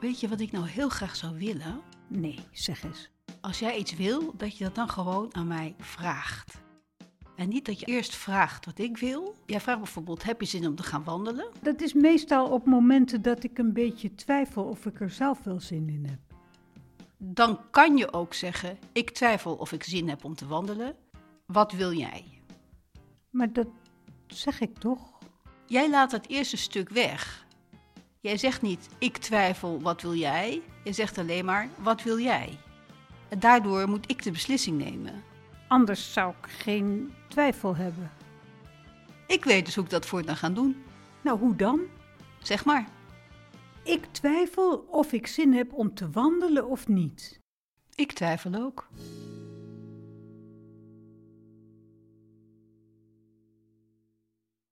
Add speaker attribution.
Speaker 1: Weet je wat ik nou heel graag zou willen?
Speaker 2: Nee, zeg eens.
Speaker 1: Als jij iets wil, dat je dat dan gewoon aan mij vraagt. En niet dat je eerst vraagt wat ik wil. Jij vraagt bijvoorbeeld, heb je zin om te gaan wandelen?
Speaker 2: Dat is meestal op momenten dat ik een beetje twijfel of ik er zelf wel zin in heb.
Speaker 1: Dan kan je ook zeggen, ik twijfel of ik zin heb om te wandelen. Wat wil jij?
Speaker 2: Maar dat zeg ik toch?
Speaker 1: Jij laat dat eerste stuk weg. Jij zegt niet, ik twijfel, wat wil jij? Je zegt alleen maar, wat wil jij? En daardoor moet ik de beslissing nemen.
Speaker 2: Anders zou ik geen twijfel hebben.
Speaker 1: Ik weet dus hoe ik dat voortaan ga doen.
Speaker 2: Nou, hoe dan?
Speaker 1: Zeg maar.
Speaker 2: Ik twijfel of ik zin heb om te wandelen of niet.
Speaker 1: Ik twijfel ook.